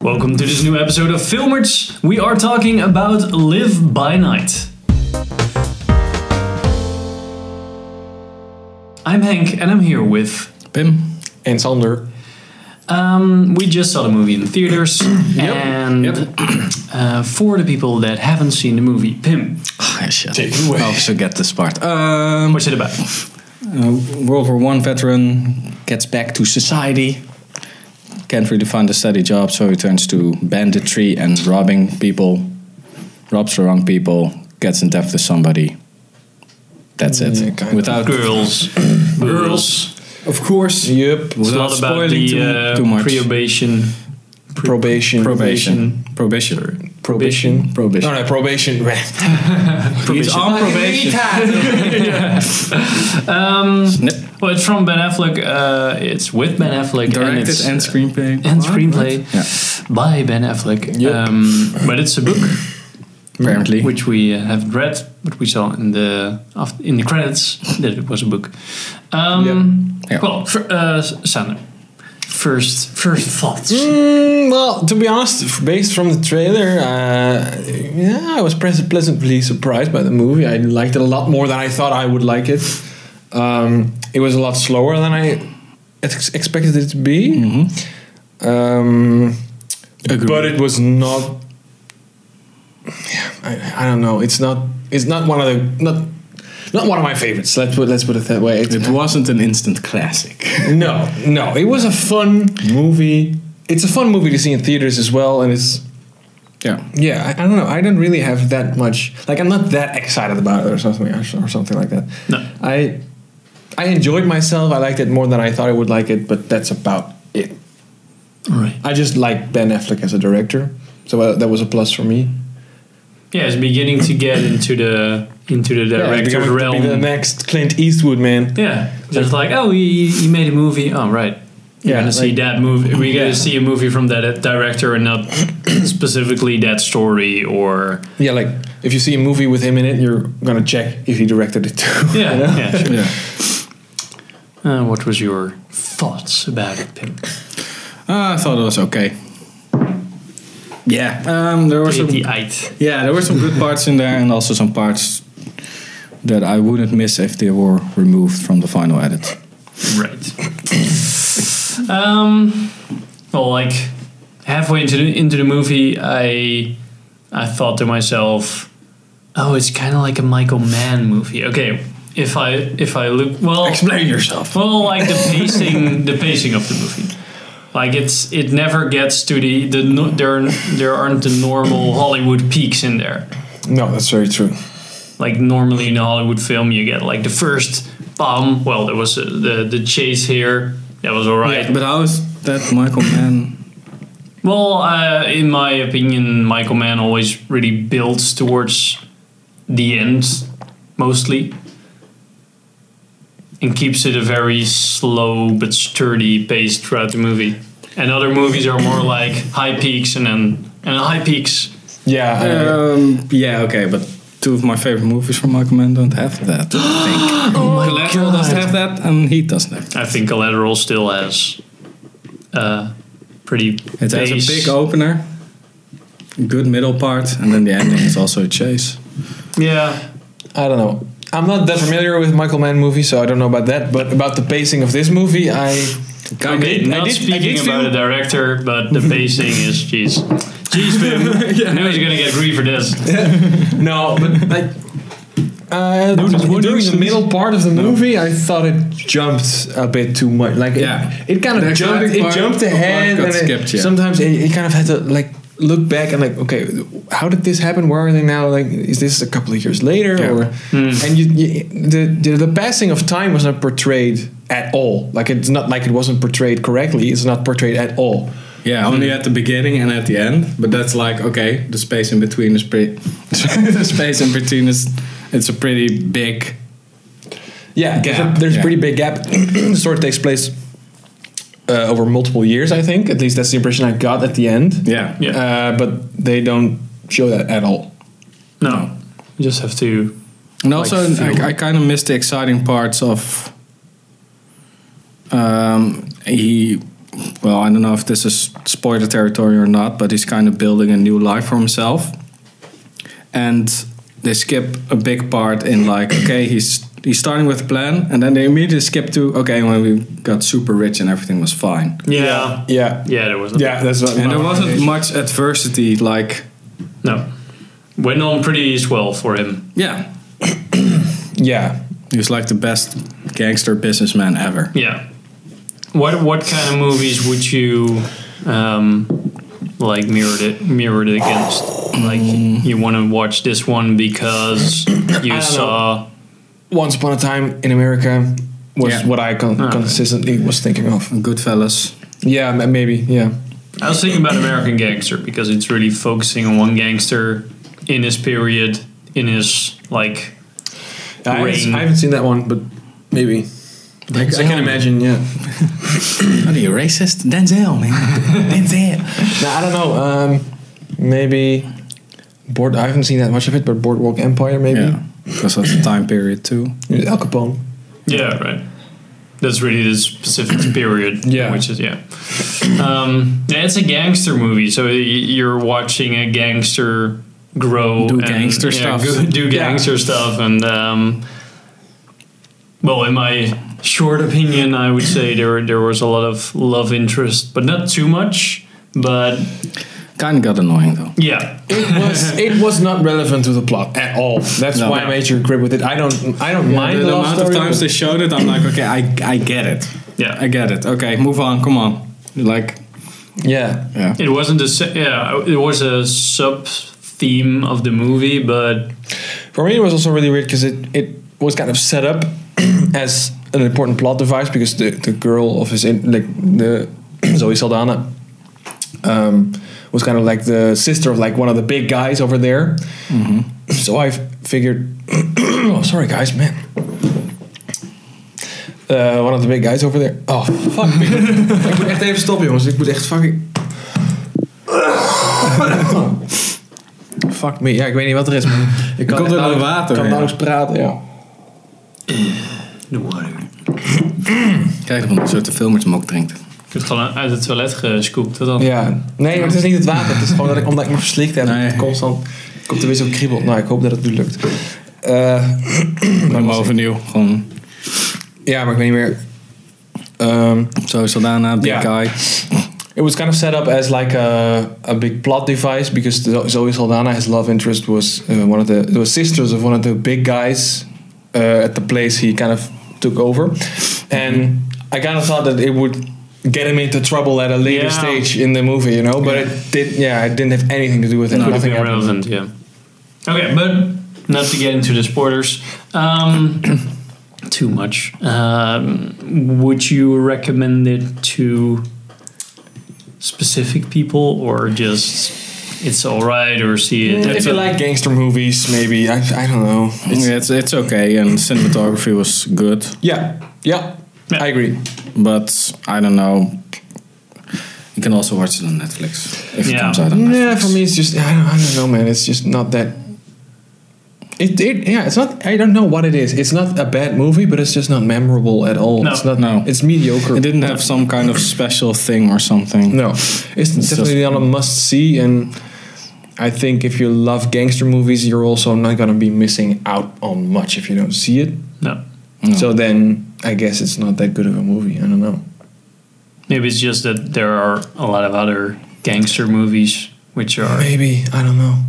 Welcome to this new episode of Filmers. We are talking about Live by Night. I'm Hank and I'm here with. Pim. En Oh, Sander. Um, we just saw the movie in the theaters. And yep. uh, for the people that haven't seen the movie, Pim, Ah, shit. Take it away. Oh, forget this part. Um, what's it about? a World War One veteran gets back to society. Can't really find a steady job, so he turns to banditry and robbing people. Robs the wrong people, gets in debt with somebody. That's it. Yeah, kind of. Without, Girls. Girls. Of course. Yep. It's without not about spoiling the too, uh, too much. probation. Probation. probation. Probation. Prohibition. Prohibition. No, no, probation. He's on probation. Um, Well, it's from Ben Affleck. Uh, it's with Ben Affleck. and Directed it's, and screenplay. and screenplay Yeah. by Ben Affleck. Yep. Um, but it's a book Apparently. which we uh, have read, but we saw in the af- in the credits that it was a book. Um, Yep. Yeah. Well, fir- uh, Sander, first first thoughts. Mm, well, to be honest, f- based from the trailer, uh, yeah, I was pres- pleasantly surprised by the movie. I liked it a lot more than I thought I would like it. Um, it was a lot slower than I ex- expected it to be. Um, but it was not. Yeah, I, I don't know. It's not. It's not one of the not. Not one of my favorites. Let's put let's put it that way. It's- It wasn't an instant classic. no, no. It was a fun movie. It's a fun movie to see in theaters as well, and it's Yeah. yeah. I, I don't know. I don't really have that much. Like I'm not that excited about it or something or, so- or something like that. No. I I enjoyed myself. I liked it more than I thought I would like it, but that's about it. All right. I just like Ben Affleck as a director, so uh, that was a plus for me. Yeah, it's beginning to get into the into the Yeah, director's becoming to be realm. the next Clint Eastwood man. Yeah, just like oh, he, he made a movie. Oh, right. You're Yeah, gonna see like- that movie. We're Yeah. gonna see a movie from that director and not specifically that story or Yeah, like if you see a movie with him in it, you're gonna check if he directed it too. you yeah. know? yeah, sure. Yeah. Uh, what was your thoughts about it, Pim? Uh, I thought it was okay. Yeah, um, there were some Pretty eight. yeah there were some good parts in there, and also some parts that I wouldn't miss if they were removed from the final edit. Right. um, well, like halfway into the, into the movie, I I thought to myself, oh, it's kind of like a Michael Mann movie. Okay, if I if I look well, yourself. Well, like the pacing, the pacing of the movie. Like it's it never gets to the the no, there there aren't the normal Hollywood peaks in there. No, that's very true. Like normally in a Hollywood film, you get like the first bomb. Well, there was uh, the the chase here. That was all right. But how is that Michael Mann? well, uh, in my opinion, Michael Mann always really builds towards the end, mostly, and keeps it a very slow but sturdy pace throughout the movie. And other movies are more like high peaks and then and high peaks. Yeah, I- Um, yeah, okay, but two of my favorite movies from Michael Mann don't have that. I think. Collateral doesn't have that, and Heat doesn't have. That. I think Collateral still has uh, pretty. It has pace. a big opener, good middle part, and then the ending is also a chase. Yeah, I don't know. I'm not that familiar with Michael Mann movies, so I don't know about that. But about the pacing of this movie, I Can't did- be- I Not did- I speaking did about feel- the director, but the pacing is jeez. Jeez, Bim. I knew he's gonna get grief for this. no, but like uh, during the middle part of the movie, I thought it jumped a bit too much. Like it- Yeah. it, kind The of jumped. exciting It part- jumped the part ahead, got and it- skipped, yeah. sometimes it, it kind of had to like look back and like, okay, how did this happen? Where are they now? Like, is this a couple of years later? Yeah. Hmm. Or and you, you the, the the passing of time was not portrayed at all. Like it's not like it wasn't portrayed correctly. It's not portrayed at all. Yeah, only at the beginning and at the end. But that's like okay, the space in between is pretty. the space in between is it's a pretty big. Yeah, there's a- Gap, there's a yeah. pretty big gap. the story takes place uh, over multiple years, I think. At least that's the impression I got at the end. Yeah, Yeah. Uh, but they don't show that at all. No, you just have to. and also Like feel. I, I kind of miss the exciting parts of. Um, he well, I don't know if this is spoiler territory or not, but he's kind of building a new life for himself. And they skip a big part in like, okay, he's he's starting with a plan, and then they immediately skip to okay, when we got super rich and everything was fine, Yeah. Yeah. Yeah, there wasn't. Yeah, that's what and there wasn't much adversity. Like, No. Went on pretty swell for him. yeah, Yeah. he was like the best gangster businessman ever. Yeah. What what kind of movies would you um, like mirrored it mirrored it against? Like you want to watch this one because you know. saw Once upon a time in America was Yeah. what I con- Ah. consistently was thinking of. Goodfellas. Yeah, ma- maybe. Yeah. I was thinking about American Gangster because it's really focusing on one gangster in his period, in his like I haven't, Ring. I haven't seen that one, but maybe. Like, I can um, imagine. Yeah. What are you racist? Denzel, man. Denzel. No, I don't know. Um, maybe. Board. I haven't seen that much of it, but Boardwalk Empire, maybe. Yeah, because that's the time period too. Al Capone. yeah right. That's really the specific period, Yeah. Which is yeah. Um, yeah, it's a gangster movie, so y- you're watching a gangster grow, Do gangster stuff. go- do gangster stuff, and um, well, in my short opinion, I would say there there was a lot of love interest, but not too much. But Kind of got annoying though. yeah, It was. it was not relevant to the plot at all. That's No. why I made your grip with it. I don't. I don't mind the, love amount story, of times but- they showed it, I'm like, okay, I, I get it. Yeah. I get it. Okay, move on. Come on. Like, yeah. yeah. It wasn't a se- yeah. It was a sub theme of the movie, but For me, it was also really weird because it, it was kind of set up as an important plot device because the, the girl of his in, like the Zoe Saldana um, was kind of like the sister of like one of the big guys over there. Mm-hmm. So I f- figured, oh sorry guys, man. Uh, one of the big guys over there. Oh fuck! me. ik moet echt even stoppen, jongens. Ik moet echt fucking. Fuck me. Ja, ik weet niet wat er is. Maar ik Komt echt er nog nauwelijks- water kan in? nauwelijks praten. Ja. de water. Kijk, van een soort film met hem ook drinkt. Ik heb het gewoon uit het toilet gescoopt. Dat dan. Ja. Nee, maar het is niet het water. Het is gewoon dat ik, omdat ik me verslikt heb. Nee. het Constant komt er weer zo'n kriebel. Nou, ik hoop dat het nu lukt. Eh, Helemaal overnieuw. Gewoon ja, maar ik weet niet meer. Ehm, zo Saldana, big Ja. guy. It was kind of set up as like a, a big plot device because Zo- Zoe Saldana, his love interest, was uh, one of the, the sisters of one of the big guys uh, at the place he kind of took over, and I kind of thought that it would get him into trouble at a later Yeah. stage in the movie, you know. But it did, yeah, it didn't have anything to do with it. Could have Nothing been happened. relevant. Yeah. Okay, but not to get into the spoilers. Um, too much. Um, would you recommend it to specific people or just it's all right or see it? If you like gangster movies, maybe I, I don't know. Yeah, it's, it's okay. And cinematography was good. Yeah, yeah, Yeah. I agree. But I don't know. You can also watch it on Netflix. If it Yeah. comes out on Netflix. Yeah, for me it's just I don't, I don't know, man. It's just not that. It, it yeah, it's not. I don't know what it is. It's not a bad movie, but it's just not memorable at all. No. it's not. No. it's mediocre. It didn't have some kind of special thing or something. no, it's, definitely just- not a must see. And I think if you love gangster movies, you're also not gonna be missing out on much if you don't see it. no. No. So then I guess it's not that good of a movie. I don't know. Maybe it's just that there are a lot of other gangster movies which are Maybe I don't know.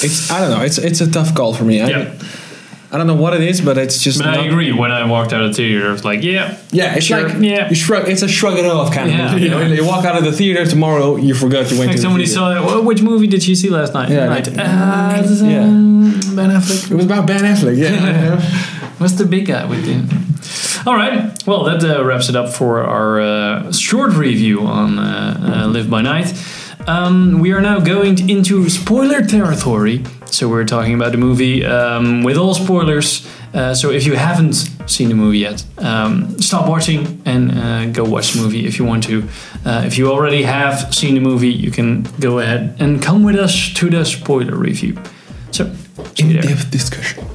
It's I don't know. It's it's a tough call for me. I, Yeah. I don't know what it is, but it's just. But not, I agree. When I walked out of the theater, I was like, yeah, Yeah, it's Sure. like Yeah. you shrug. It's a shrug it off kind Yeah. of movie. You, know? Yeah. you walk out of the theater tomorrow, you forgot you went like to. the somebody theater. saw that. Well, which movie did you see last night? Yeah, Night. like- Uh, Yeah. Ben Affleck. It was about Ben Affleck. Yeah, What's the big guy with him? All right. Well, that uh, wraps it up for our uh, short review on uh, uh, Live by Night. Um, we are now going to- into spoiler territory. So we're talking about the movie um, with all spoilers. Uh, so if you haven't seen the movie yet, um, stop watching and uh, go watch the movie if you want to. Uh, if you already have seen the movie, you can go ahead and come with us to the spoiler review. So see you there. in-depth discussion.